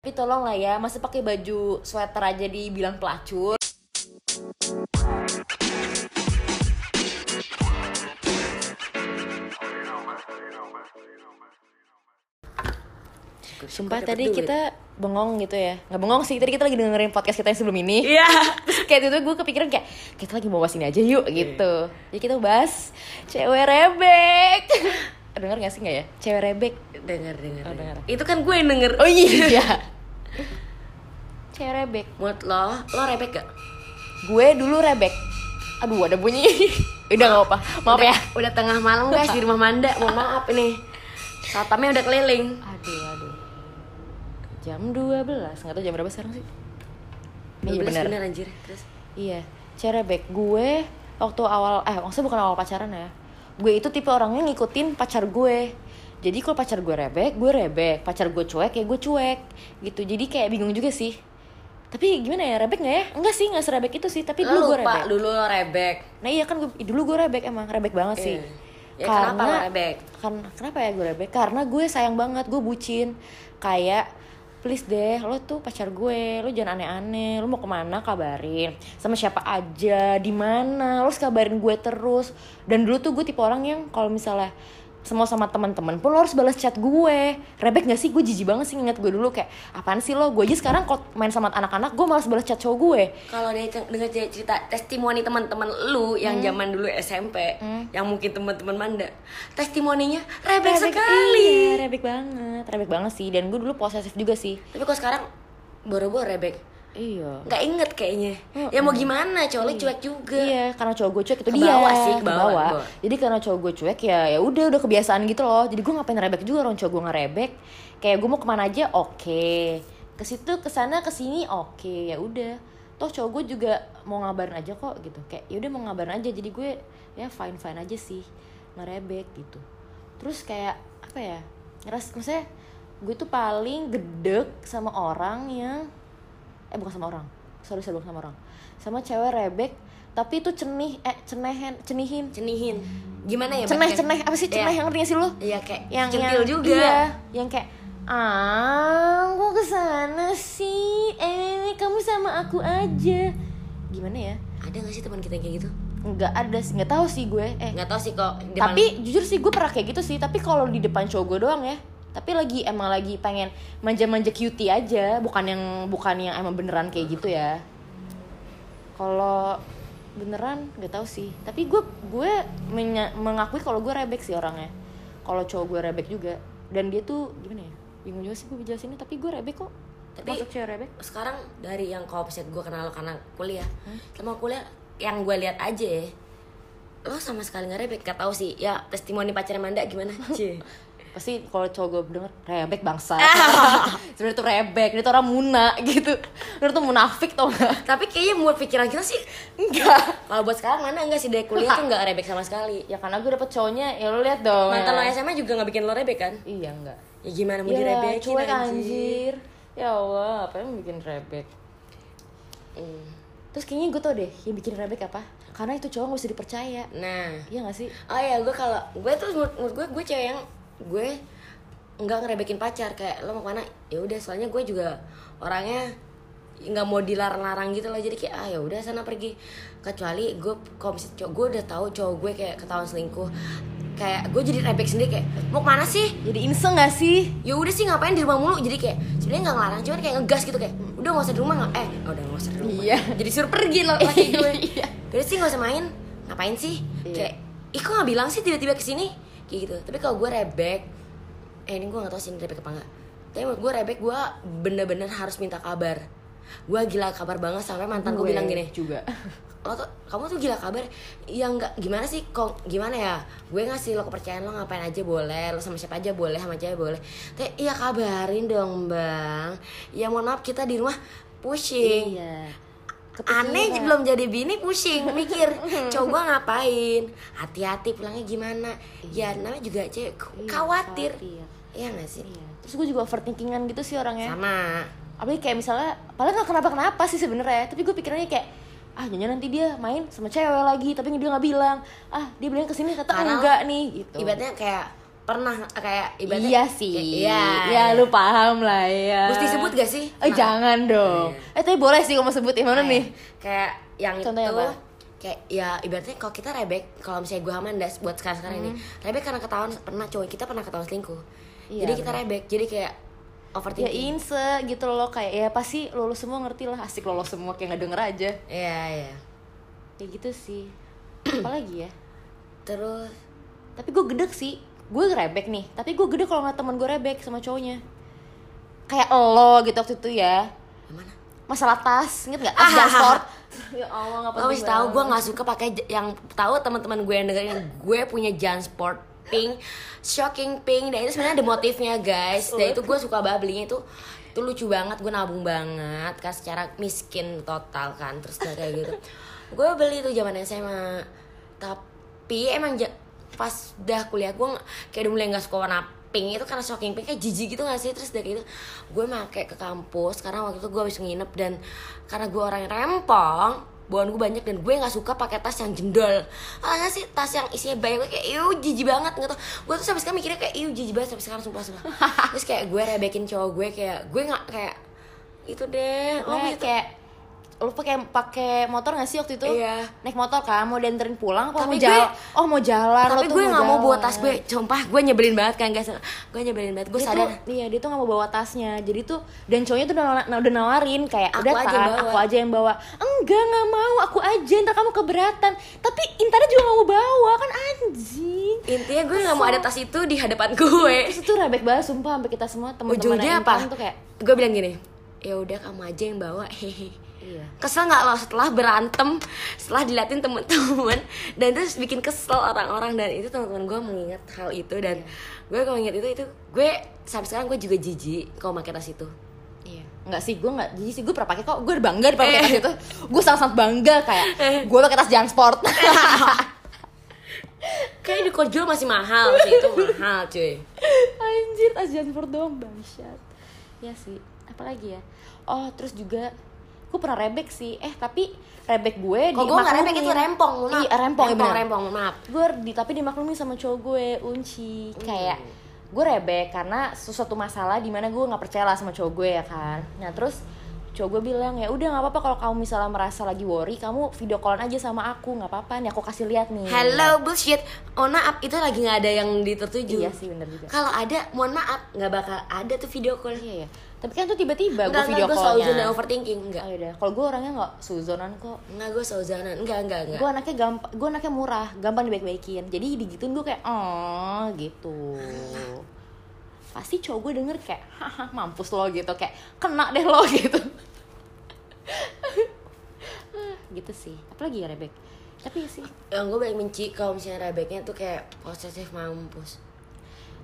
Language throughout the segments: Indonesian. tapi tolong lah ya masa pakai baju sweater aja dibilang pelacur Sumpah dapet tadi duit. kita bengong gitu ya Gak bengong sih, tadi kita lagi dengerin podcast kita yang sebelum ini Iya. Terus kayak itu gue kepikiran kayak Kita lagi mau bahas ini aja yuk gitu Jadi kita bahas cewek rebek Dengar gak sih gak ya? Cewek rebek Dengar dengar. Oh, dengar. dengar. Itu kan gue yang denger. Oh iya Cewek rebek Menurut lo, lo rebek gak? Gue dulu rebek Aduh ada bunyi Udah gak apa-apa Maaf Udah- ya Udah tengah malam guys di rumah Manda. Mohon maaf nih. Satpamnya udah keliling. Aduh aduh Jam 12 Gak tau jam berapa sekarang sih Iya 12 bener bener anjir. Terus Iya, cerebek gue waktu awal eh maksudnya bukan awal pacaran ya. Gue itu tipe orangnya ngikutin pacar gue. Jadi kalau pacar gue rebek, gue rebek. Pacar gue cuek, ya gue cuek. Gitu. Jadi kayak bingung juga sih. Tapi gimana ya, rebek gak ya? Enggak sih, gak serebek itu sih. Tapi lo dulu gue lupa rebek. dulu lo rebek. Nah iya kan gue, dulu gue rebek emang, rebek banget sih. Iya. Ya, kenapa lo rebek? Kan- kenapa ya gue rebek? Karena gue sayang banget, gue bucin. Kayak please deh, lo tuh pacar gue, lo jangan aneh-aneh, lo mau kemana kabarin, sama siapa aja, di mana, lo harus kabarin gue terus. Dan dulu tuh gue tipe orang yang kalau misalnya semua sama teman-teman pun lo harus balas chat gue rebek gak sih gue jijik banget sih nginget gue dulu kayak apaan sih lo gue aja sekarang kalau main sama anak-anak gue malas balas chat cowok gue Kalau dia ceng- dengar cerita- cerita testimoni teman-teman lu Hmm. yang zaman dulu SMP, yang mungkin teman-teman Manda, testimoninya rebek, sekali. iya, rebek banget rebek banget sih dan gue dulu posesif juga sih Tapi kok sekarang boro-boro rebek? iya Nggak inget kayaknya. Ya mau gimana, cowok lu cuek juga. Iya, karena cowok gue cuek itu dia. Kebawa sih, kebawa, Kebawa. kebawa. Jadi karena cowok gue cuek ya ya udah udah kebiasaan gitu loh. Jadi gue ngapain rebek juga orang cowok gue ngerebek. Kayak gue mau kemana aja oke. Ke situ ke sana ke sini oke ya udah. Toh cowok gue juga mau ngabarin aja kok gitu. Kayak ya udah mau ngabarin aja. Jadi gue ya fine fine aja sih ngerebek gitu. Terus kayak apa ya? Ngeras maksudnya gue tuh paling gedek sama orang yang eh bukan sama orang sorry sorry bukan sama orang sama cewek rebek tapi itu cenih eh cenehen cenihin Cenihin. Gimana ya? Iya. ceneh Bek? ceneh apa sih ceneh yang ngerti gak sih lu Iya kayak yang centil yang, juga. iya, yang kayak ah kok kesana sih eh kamu sama aku aja gimana ya Ada gak sih teman kita yang kayak gitu? nggak ada sih nggak tahu sih gue eh Nggak tahu sih kok. di depan- tapi jujur sih gue pernah kayak gitu sih tapi kalau di depan cowok gue doang ya tapi lagi emang lagi pengen manja-manja cutie aja bukan yang bukan yang emang beneran kayak gitu ya kalau beneran gak tahu sih tapi gue gue menya- mengakui kalau gue rebek sih orangnya kalau cowok gue rebek juga dan dia tuh gimana ya bingung juga sih gue jelasinnya tapi gue rebek kok Tapi- masuk cewek rebek sekarang dari yang kau offset gue kenal lo karena kuliah Hmm? sama kuliah yang gue lihat aja ya, lo sama sekali nggak rebek gak tahu sih ya testimoni pacar Manda gimana sih pasti kalau cowok gue denger rebek bangsa sebenarnya tuh rebek dia tuh orang muna gitu dia tuh munafik tau gak tapi kayaknya buat pikiran kita sih Enggak. kalau buat sekarang mana enggak sih dari kuliah tuh nggak rebek sama sekali Ya karena gue dapet cowoknya, ya lo liat dong. mantan lo ya. SMA juga nggak bikin lo rebek kan Iya enggak. ya gimana mau Ya direbekin cuek anjir. anjir. Ya Allah, apa yang bikin rebek? Hmm. Eh, Terus kayaknya gue tau deh, yang bikin rebek apa? Karena itu cowok gak bisa dipercaya. nah Iya gak sih? oh ya gue kalau gue tuh menurut, menurut gue gue cewek yang gue nggak ngerebekin pacar kayak lo mau kemana ya udah soalnya gue juga orangnya nggak mau dilarang-larang gitu loh jadi kayak ah ya udah sana pergi kecuali gue kalau misalnya cowok gue udah tahu cowok gue kayak ketahuan selingkuh kayak gue jadi rebek sendiri kayak mau kemana sih Jadi inseng gak sih? ya udah sih ngapain di rumah mulu jadi kayak sebenarnya nggak ngelarang cuman kayak ngegas gitu kayak udah nggak usah di rumah nggak eh udah nggak usah di rumah Iya. jadi suruh pergi loh laki gue Iya. udah sih nggak usah main ngapain sih Iya. kayak ih kok nggak bilang sih tiba-tiba kesini kayak gitu tapi kalau gue rebek eh ini gue nggak tahu sih ini rebek apa enggak tapi menurut gue rebek gue bener-bener harus minta kabar gue gila kabar banget sampai Kan mantan gue bilang gini juga. lo tuh kamu tuh gila kabar yang nggak gimana sih kok gimana ya gue ngasih lo kepercayaan lo ngapain aja boleh lo sama siapa aja boleh sama cewek boleh teh iya kabarin dong bang ya mohon maaf kita di rumah pusing Iya. aneh j- belum jadi bini pusing mikir coba ngapain hati-hati pulangnya gimana ya namanya juga cewek khawatir Iya. khawatir. iya nggak sih Iya. Terus gue juga overthinkingan gitu sih orangnya. sama apalagi kayak misalnya padahal nggak kenapa kenapa sih sebenarnya tapi gue pikirannya kayak ah nyonya nanti dia main sama cewek lagi tapi dia nggak bilang ah dia bilang kesini kata Karena enggak nih gitu ibaratnya kayak pernah kayak ibaratnya iya sih iya gitu. ya lu paham lah ya mesti sebut gak sih Nah. eh jangan dong Iya, eh tapi boleh sih kalau mau sebut yang mana nih kayak yang Contohnya itu apa? kayak ya ibaratnya kalau kita rebek kalau misalnya gue sama Andas buat sekarang sekarang Hmm. ini rebek karena ketahuan pernah cowok kita pernah ketahuan selingkuh Iya, jadi kita rebek jadi kayak ya overthinking inse gitu loh kayak ya pasti lulus semua ngerti lah asik lolos semua kayak nggak denger aja iya iya ya gitu sih apalagi ya terus tapi gue gedek sih gue rebek nih tapi gue gede kalau nggak temen gue rebek sama cowoknya kayak lo gitu waktu itu ya yang mana masalah tas inget nggak Ah, tas dashboard ya allah nggak lo mesti tahu gue nggak suka pakai j- yang tahu teman-teman gue yang dengerin gue punya Jansport pink shocking pink dan itu sebenarnya ada motifnya guys dan itu gue suka banget belinya itu itu lucu banget gue nabung banget kan secara miskin total kan terus udah kayak gitu gue beli itu zaman SMA tapi emang ja- pas udah kuliah gue nggak- kayak udah mulai nggak suka warna pink itu karena shocking pink kayak jijik gitu gak sih terus udah kayak gitu gue make ke kampus karena waktu itu gue habis nginep dan karena gue orang yang rempong bawaan gue banyak dan gue nggak suka pakai tas yang jendol karena sih tas yang isinya banyak gue kayak iu jijik banget gitu gue tuh sampai sekarang mikirnya kayak iu jijik banget sampai sekarang sumpah sumpah terus kayak gue rebekin cowok gue kayak gue nggak kayak itu deh lo Kayak- gitu kayak lu pakai pakai motor gak sih waktu itu? Iya. Naik motor kan mau dianterin pulang apa mau Tapi gue- jalan? Oh, mau jalan. tapi lo tuh gue nggak mau bawa jalan. tas gue sumpah gue nyebelin banget kan guys gue nyebelin banget gue Dia sadar tuh- iya, dia tuh gak mau bawa tasnya. Jadi tuh dan cowoknya tuh udah, nawa- udah nawarin kayak Aku udah aja tan, yang bawa." aku aja yang bawa. Enggak, nggak mau, aku aja. Ntar kamu keberatan. Tapi Intan juga gak mau bawa kan anjing. intinya gue nggak mau ada tas itu di hadapan gue Terus itu rebek banget sumpah sampai kita semua teman-teman ujungnya Intan apa tuh kayak gue bilang gini ya udah kamu aja yang bawa hehe Iya. kesel nggak lo setelah berantem setelah dilatin temen-temen dan terus bikin kesel orang-orang dan itu teman-teman gue mengingat hal itu dan Iya. gue kalau ingat itu itu gue sampai sekarang gue juga jijik kalau pakai tas itu Iya. Enggak sih, gue enggak jadi sih gue pernah pakai kok. Gue bangga di Eh. pakai tas itu. Gue sangat-sangat bangga kayak gue pakai tas Jansport. kayak di kojol masih mahal sih itu mahal cuy Iya, Anjir, tas Jansport doang bangsat. Ya sih, apalagi ya? Oh, terus juga gue pernah rebek sih. Eh, tapi rebek gue kalau gue nggak rempong dimaklumin. itu rempong mohon maaf Iya, rempong, ya rempong, bener. rempong, mohon maaf gue di tapi dimaklumi sama cowok gue unci kayak gue rebek karena sesuatu masalah di mana gue nggak percaya lah sama cowok gue ya kan nah terus cowok gue bilang ya udah nggak apa-apa kalau kamu misalnya merasa lagi worry kamu video callan aja sama aku nggak apa-apa nih aku kasih lihat nih Hello bullshit. Ona up itu lagi nggak ada yang ditertuju. Iya sih, bener juga. Kalau ada, mohon maaf, nggak bakal ada tuh video call. iya ya tapi kan tuh tiba-tiba gue Enggak, video enggak, gue selalu zona callnya overthinking, enggak. oh, yaudah kalau gue orangnya nggak suzonan kok Enggak, gue selalu zona, enggak, enggak, enggak. gue anaknya gampang gue anaknya murah gampang dibaik-baikin jadi digituin gue kayak oh gitu pasti cowok gue denger kayak haha mampus lo gitu kayak kena deh lo gitu Ah, gitu sih apalagi ya rebek tapi ya sih Yang gue paling benci kalau misalnya rebeknya tuh kayak posesif Hmm. mampus.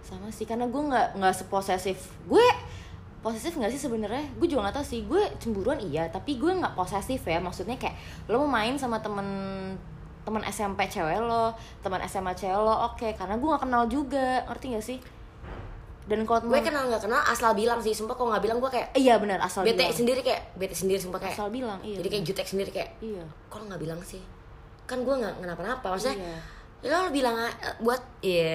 sama sih karena gue nggak nggak seposesif gue posesif nggak sih sebenarnya gue juga nggak tahu sih gue cemburuan iya tapi gue nggak posesif ya maksudnya kayak lo mau main sama temen teman SMP cewek lo teman SMA cewek lo oke karena gue nggak kenal juga ngerti nggak sih dan kalau Gue temen- kenal nggak kenal asal bilang sih, sumpah kalau nggak bilang gue kayak iya benar asal bete bilang sendiri kayak bete sendiri sumpah kayak. asal bilang iya jadi kayak jutek sendiri kayak. iya Kalau nggak bilang sih, kan gue nggak kenapa-napa maksudnya. Iya. Ya lo bilang a- buat iya.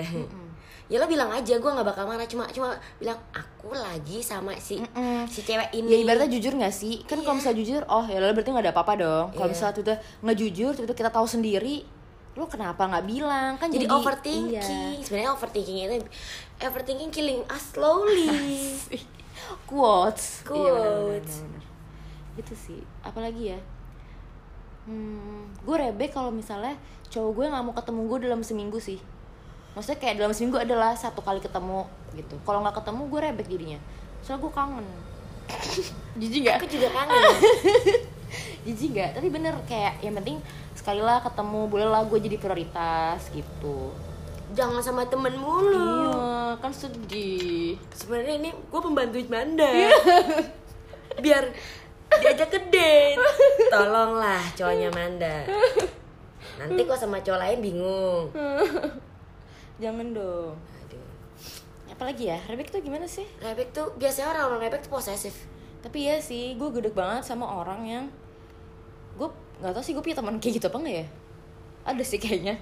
Ya lo bilang aja gue nggak bakal marah cuma cuma bilang aku lagi sama si Mm-mm. si cewek ini. Ya ibaratnya jujur gak sih? Kan kalau misalnya jujur, oh ya lo berarti gak ada apa-apa dong Kalau Iya. misalnya tiba-tiba gak jujur, tiba-tiba kita tahu sendiri Lo kenapa gak bilang? Kan jadi, jadi, overthinking Iya. sebenarnya overthinking itu overthinking killing us slowly Quotes Quotes. Iya, benar, benar, benar. Itu sih, apalagi ya hmm, Gue rebek kalau misalnya cowok gue gak mau ketemu gue dalam seminggu sih Maksudnya kayak dalam seminggu adalah satu kali ketemu gitu Kalau gak ketemu gue rebek jadinya Soalnya gue kangen Jijik gak? aku juga kangen jijik gak? Tapi bener kayak yang penting sekali lah ketemu boleh lah gue jadi prioritas gitu. jangan sama temen mulu Iya kan sedih. sebenarnya ini gue pembantu Manda Iya. biar diajak ke date tolonglah cowoknya Manda nanti kok sama cowok lain bingung Hmm. Jangan dong. Aduh. Apalagi ya Rebek tuh gimana sih? Rebek tuh biasanya orang-orang rebek tuh posesif Tapi ya sih gue gede banget sama orang yang gue nggak tau sih gue punya teman kayak gitu apa enggak ya? Ada sih kayaknya.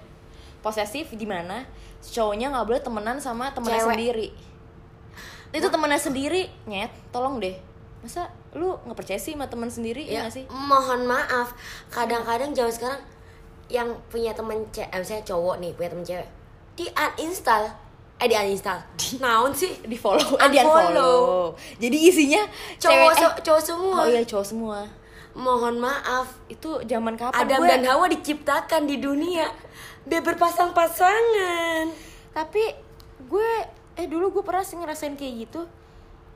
posesif di mana si cowoknya nggak boleh temenan sama temennya Cewek. Nah. sendiri Nah, itu temennya sendiri nyet tolong deh masa lu nggak percaya sih sama teman sendiri ya, Ya, nggak sih mohon maaf. Kadang-kadang zaman sekarang yang punya temen cewek, misalnya cowok nih punya temen cewek, di uninstall, eh di uninstall, naon sih? di follow eh, Unfollow. di unfollow jadi isinya cewek- Cowok, se- cowok eh, semua. oh iya cowok semua Mohon maaf. itu zaman kapan Adam gue dan Hawa diciptakan di dunia biar berpasang-pasangan. tapi gue eh dulu gue pernah sih ngerasain kayak gitu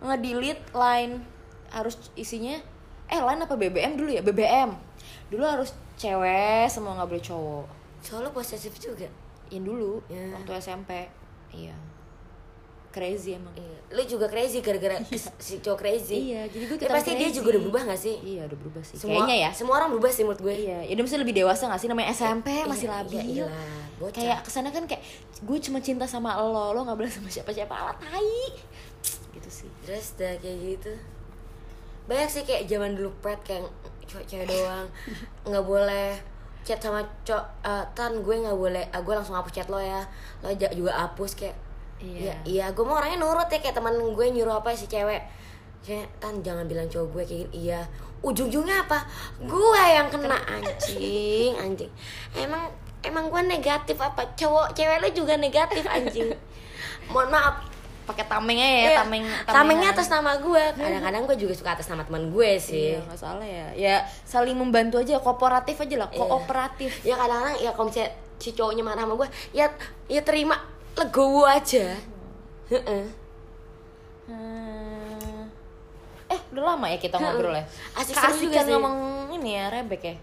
ngedelete line harus isinya eh line apa BBM dulu ya BBM dulu harus cewek semua nggak boleh cowok Soalnya posesif juga. yang dulu Ya. waktu SMP iya crazy emang Iya. Lu juga crazy gara-gara si cowok crazy. iya jadi gue Tapi pasti dia juga udah berubah gak sih? iya udah berubah sih Semua, kayaknya ya Semua orang berubah sih menurut gue. iya ya udah mesti lebih dewasa gak sih namanya SMP masih iya, labil iyalah, bocah. kayak kesana kan kayak gue cuma cinta sama lo lo nggak boleh sama siapa siapa alat tai gitu sih Terus udah kayak gitu Banyak sih kayak zaman dulu pet kayak cowok cewek doang nggak boleh chat sama cowok eh, Tan gue nggak boleh ah, gue langsung hapus chat lo ya lo ja- juga hapus kayak Iya. ya, iya gue mau orangnya nurut ya kayak teman gue nyuruh apa si cewek Cewek, Tan jangan bilang cowok gue kayak gini Iya Ujung-ujungnya apa? Gue yang kena anjing Anjing Emang Emang gue negatif apa? Cowok cewek lo juga negatif anjing Mohon maaf pakai tamengnya ya Iya, tameng tamengnya atas nama gue kadang-kadang gue juga suka atas nama teman gue sih iya nggak salah ya ya saling membantu aja kooperatif aja Iya. lah kooperatif ya kadang-kadang ya kalau misalnya si cowoknya marah sama gue ya ya terima legowo aja Heeh. Hmm. eh udah lama ya kita ngobrol ya Asik seru keasikan juga sih. ngomong ini ya rebek ya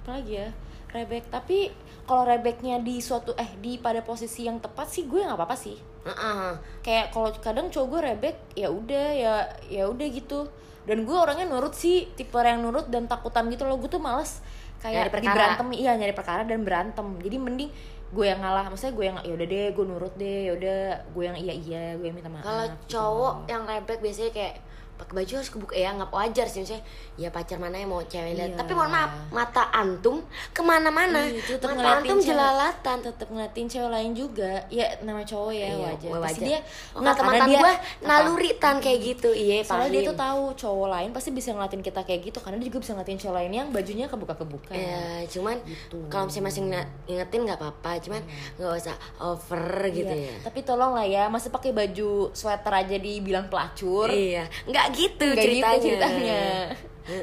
apalagi ya rebek tapi kalau rebeknya di suatu eh di pada posisi yang tepat sih gue nggak apa-apa sih Heeh. kayak kalau kadang cowok gue rebek ya udah ya ya udah gitu dan gue orangnya nurut sih tipe yang nurut dan takutan gitu loh gue tuh males kayak Nyari perkara. diberantem iya nyari perkara dan berantem jadi mending gue yang ngalah maksudnya gue yang ya udah deh gue nurut deh ya udah gue yang iya iya gue yang minta maaf kalau gitu. cowok yang rebek biasanya kayak pakai baju harus kebuka ya nggak wajar sih misalnya ya pacar mana yang mau cewek lihat Iya. tapi mohon maaf mata antum kemana-mana Iya, tetep mata ngeliatin antum cewek. jelalatan tetap kan ngeliatin cewek lain juga ya nama cowok ya Iya, wajar wajar. pasti dia oh, nggak, kata karena mantan dia- gue apa? naluri tan kayak gitu iya soalnya dia paham. tuh tahu cowok lain pasti bisa ngeliatin kita kayak gitu karena dia juga bisa ngeliatin cowok lain yang bajunya kebuka kebuka Ya, cuman gitu. kalau misalnya masih nge- ngingetin nggak apa-apa, cuman nggak usah over gitu Iya, ya. Tapi tolong lah ya, masa pakai baju sweater aja dibilang pelacur. Iya, nggak Nggak gitu gitu ceritanya. ceritanya.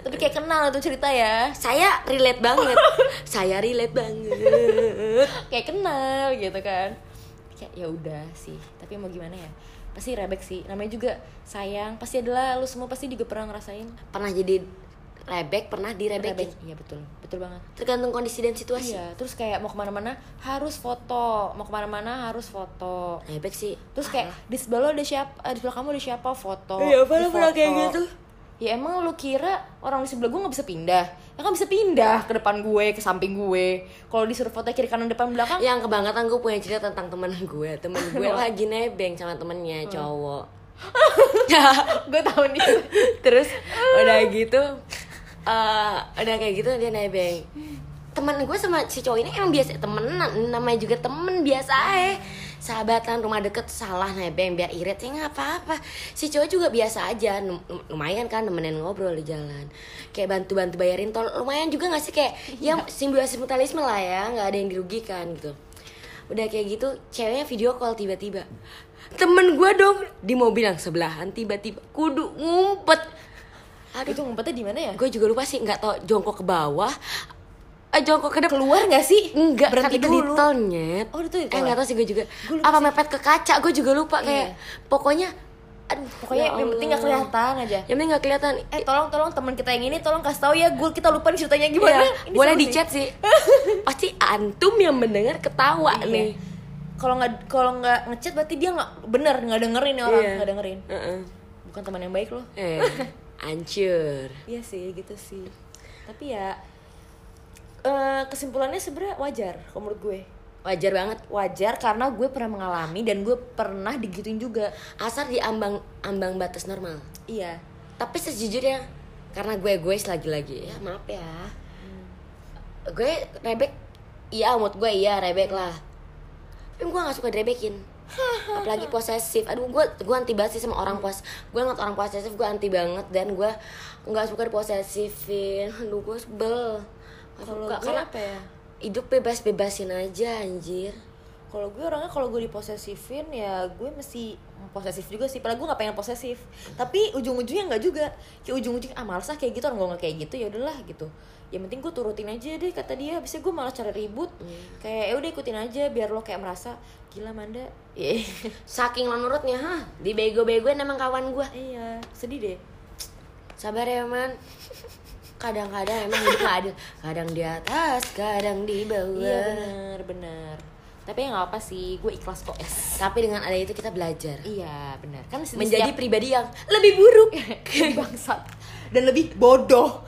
Tapi kayak kenal tuh cerita ya. Saya relate banget. Saya relate banget. Kayak kenal gitu kan. Kayak ya udah sih, tapi mau gimana ya? Pasti rebek sih. Namanya juga sayang. Pasti adalah lu semua pasti juga pernah ngerasain Pernah jadi rebek, ya? pernah direbekin. Iya betul. Betul banget. Tergantung kondisi dan situasi. Iya, terus kayak mau kemana-mana harus foto, mau kemana-mana harus foto. Rebek sih. Terus kayak di sebelah lo ada siapa, eh, di sebelah kamu ada siapa foto. Iya, apa lo Di pernah foto. kayak gitu? Ya emang lu kira orang di sebelah gue nggak bisa pindah? Ya kan bisa pindah ke depan gue, ke samping gue. Kalau disuruh foto kiri kanan depan belakang, Yang kebangetan gue punya cerita tentang temen gue. Temen gue lagi nebeng sama temennya cowok. gue tahu nih. terus udah gitu eh, udah kayak gitu dia nebeng temen gue sama si cowok ini emang biasa temenan namanya juga temen biasa eh sahabatan rumah deket salah nebeng biar irit ya nggak apa-apa si cowok juga biasa aja lum- lum- lumayan kan nemenin ngobrol di jalan kayak bantu-bantu bayarin tol lumayan juga nggak sih kayak ya simbiosis mutualisme lah ya nggak ada yang dirugikan gitu udah kayak gitu ceweknya video call tiba-tiba temen gue dong di mobil yang sebelahan tiba-tiba kudu ngumpet aduh Itu ngumpetnya di mana ya? gue juga lupa sih nggak tau jongkok ke bawah eh, jongkok ke depan Keluar nggak sih? enggak berhenti berarti kan dulu. detail nyet Oh, detail. eh nggak tau sih gue juga Gue lupa Iya. apa mepet ke kaca gue juga lupa kayak pokoknya aduh ya Pokoknya yang penting nggak kelihatan aja. yang penting nggak kelihatan Eh tolong tolong teman kita yang ini tolong kasih tahu ya gue kita lupa nih ceritanya Iya, gimana. Ini boleh seru di sih. chat sih pasti antum yang mendengar ketawa Iya. nih Kalau nggak kalau nggak ngechat berarti dia nggak bener nggak dengerin nih orang Iya. nggak dengerin. Heeh. Bukan teman yang baik loh. eh hancur Iya sih gitu sih. Tapi ya eh, kesimpulannya sebenarnya wajar kalau menurut gue. wajar banget Wajar karena gue pernah mengalami dan gue pernah digituin juga. asar di ambang ambang batas normal Iya. tapi sejujurnya karena gue gue lagi lagi ya Hmm. maaf ya gue rebek iya menurut gue iya rebek lah tapi gue nggak suka direbekin apalagi posesif aduh gue gue anti banget sih sama orang pos gue ngeliat orang posesif gue anti banget dan gue nggak suka diposesifin aduh gue sebel Nggak Kalau suka gue karena apa ya? hidup bebas bebasin aja anjir Kalau gue orangnya kalau gue diposesifin ya gue mesti posesif juga sih. Padahal gue nggak pengen posesif. Tapi ujung-ujungnya nggak juga. Kayak ujung-ujungnya ah males lah kayak gitu orang gue nggak kayak gitu ya udahlah gitu. Yang penting gue turutin aja deh kata dia. Bisa gue malah cari ribut. Kayak ya udah ikutin aja biar lo kayak merasa gila Manda. Iya. saking lo nurutnya hah dibego-begoin emang kawan gue iya sedih deh. sabar ya man kadang-kadang emang hidup gak adil kadang di atas kadang di bawah Iya benar benar. Tapi ya nggak apa sih. Gue ikhlas kok. Es. tapi dengan ada itu kita belajar Iya benar. Kan di menjadi setiap- pribadi yang lebih buruk bangsat dan lebih bodoh.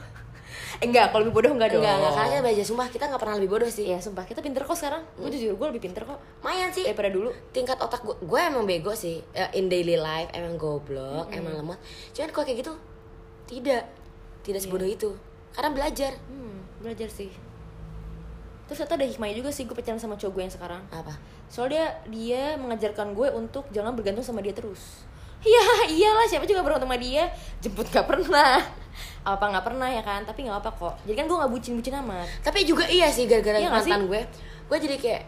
Eh, enggak, kalau lebih bodoh enggak dong. enggak enggak karena kita belajar sumpah kita nggak pernah lebih bodoh sih Iya sumpah kita pinter kok sekarang. Gue jujur gue lebih pinter kok lumayan sih daripada dulu. Eh, tingkat otak gue gue emang bego sih Eh, in daily life emang goblok emang lemot cuman kalau kayak gitu tidak Iya. tidak sebodoh itu karena belajar Hmm, belajar sih. Terus ternyata ada hikmahnya juga sih gue pacaran sama cowok gue yang sekarang. apa Soalnya dia mengajarkan gue untuk jangan bergantung sama dia terus. Ya iyalah siapa juga bergantung sama dia jemput nggak pernah apa nggak pernah ya kan tapi nggak apa kok jadi kan gue nggak bucin bucin amat tapi juga iya sih gara-gara Iya nggak mantan gue gue jadi kayak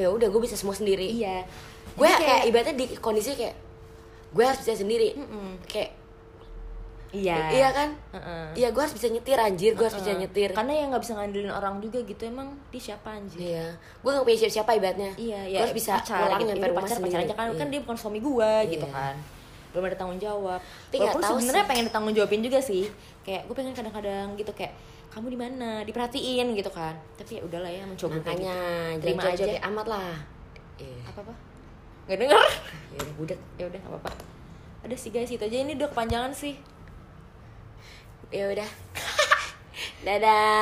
ya udah gue bisa semua sendiri iya gue Jadi kayak, ibaratnya di kondisi kayak gue harus bisa sendiri kayak iya iya kan Heeh. iya gue harus bisa nyetir anjir gue harus bisa Heeh. Kan nyetir karena yang nggak bisa ngandelin orang juga gitu emang dia siapa anjir iya gue gak punya siapa siapa ibaratnya iya Gua ya harus bisa pacar pulang gitu. nyampe Itu rumah pacar pacar sendiri. aja kan Iya. kan dia bukan suami gua gitu Iya. kan belum ada tanggung jawab Tapi nggak walaupun tahu sebenarnya sih. pengen ditanggung jawabin juga sih kayak gue pengen kadang-kadang gitu kayak kamu di mana diperhatiin gitu kan tapi ya udahlah ya mencoba makanya gitu. terima terima aja aja amat lah iya apa apa nggak denger ya udah budak ya udah nggak apa-apa ada sih guys itu aja ini udah kepanjangan sih ya udah dadah